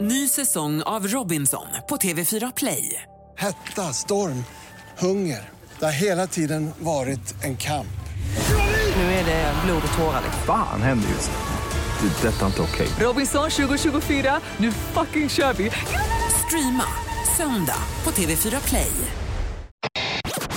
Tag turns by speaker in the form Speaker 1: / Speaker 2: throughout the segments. Speaker 1: Ny säsong av Robinson på TV4 Play.
Speaker 2: Hetta, storm, hunger. Det har hela tiden varit en kamp.
Speaker 1: Nu är det blod och tårar. liksom.
Speaker 3: Fan händer just nu. Det. är Detta är inte okej.
Speaker 1: Robinson 2024, nu fucking kör vi! Streama söndag på TV4 Play.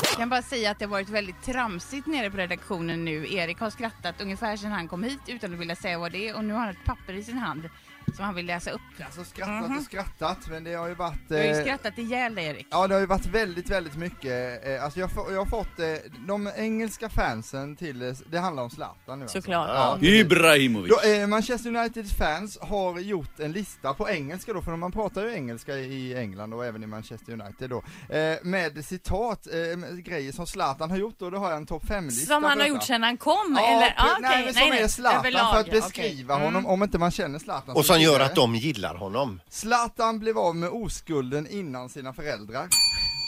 Speaker 4: Jag kan bara säga att det har varit väldigt tramsigt nere på redaktionen nu. Erik har skrattat ungefär sedan han kom hit utan att vilja säga vad det är och nu har han ett papper i sin hand som han vill läsa upp.
Speaker 5: Alltså skrattat
Speaker 6: Mhm.
Speaker 5: och skrattat, men det har ju varit...
Speaker 4: Du har ju
Speaker 5: eh,
Speaker 4: skrattat ihjäl dig Erik.
Speaker 5: Ja det har ju varit väldigt, väldigt mycket, eh, alltså jag, får- jag har fått, eh, de engelska fansen till, eh, det handlar om Zlatan nu
Speaker 4: Såklart.
Speaker 5: Alltså. Ja, precis.
Speaker 7: Ibrahimovic.
Speaker 5: då, eh, Manchester Uniteds fans har gjort en lista på engelska då, för man pratar ju engelska i England och även i Manchester United då, eh, med citat, eh, med grejer som Zlatan har gjort och då har jag en topp 5-lista
Speaker 6: Som han har gjort sedan han kom? eller?
Speaker 5: pre-
Speaker 6: Ah, okej.
Speaker 5: nej, men som är Zlatan
Speaker 6: överlag,
Speaker 5: för att
Speaker 6: okej. Mm.
Speaker 5: beskriva honom om inte man känner Zlatan
Speaker 8: Och som gör
Speaker 5: spelare.
Speaker 8: att de gillar honom.
Speaker 5: Zlatan blev av med oskulden innan sina föräldrar.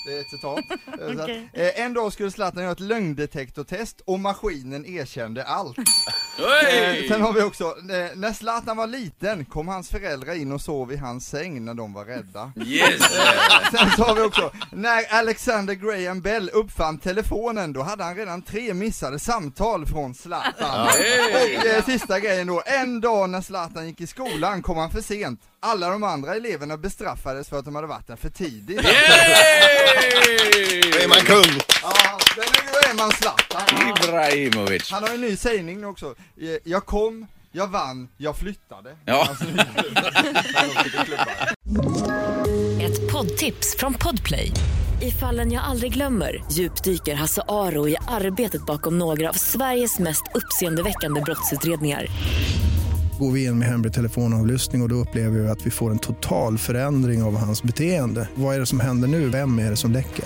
Speaker 5: Det är ett citat. Så att,
Speaker 6: Okej.
Speaker 5: eh, en dag skulle Zlatan göra ett lögndetektortest och maskinen erkände allt. Eh, Sen har vi också, eh, när Zlatan var liten kom hans föräldrar in och sov i hans säng när de var rädda.
Speaker 7: Yes!
Speaker 5: Sen så har vi också, när Alexander Graham Bell uppfann telefonen då hade han redan tre missade samtal från Zlatan. Och eh, sista grejen då, en dag när Zlatan gick i skolan kom han för sent. Alla de andra eleverna bestraffades för att de hade varit där för tidigt.
Speaker 8: Då är man kung!
Speaker 5: Ja, men nu är man Zlatan.
Speaker 7: Ibrahimovic.
Speaker 5: Han har en ny sägning nu också. Eh, Jag kom, jag vann, jag flyttade.
Speaker 7: Ja.
Speaker 5: Alltså, det är klubbar.
Speaker 9: Ett poddtips från Podplay. I fallen jag aldrig glömmer djupdyker Hasse Aro i arbetet bakom några av Sveriges mest uppseendeväckande brottsutredningar.
Speaker 10: går vi in med hemlig telefonavlyssning och, och då upplever vi att vi får en total förändring av hans beteende. Vad är det som händer nu? Vem är det som läcker?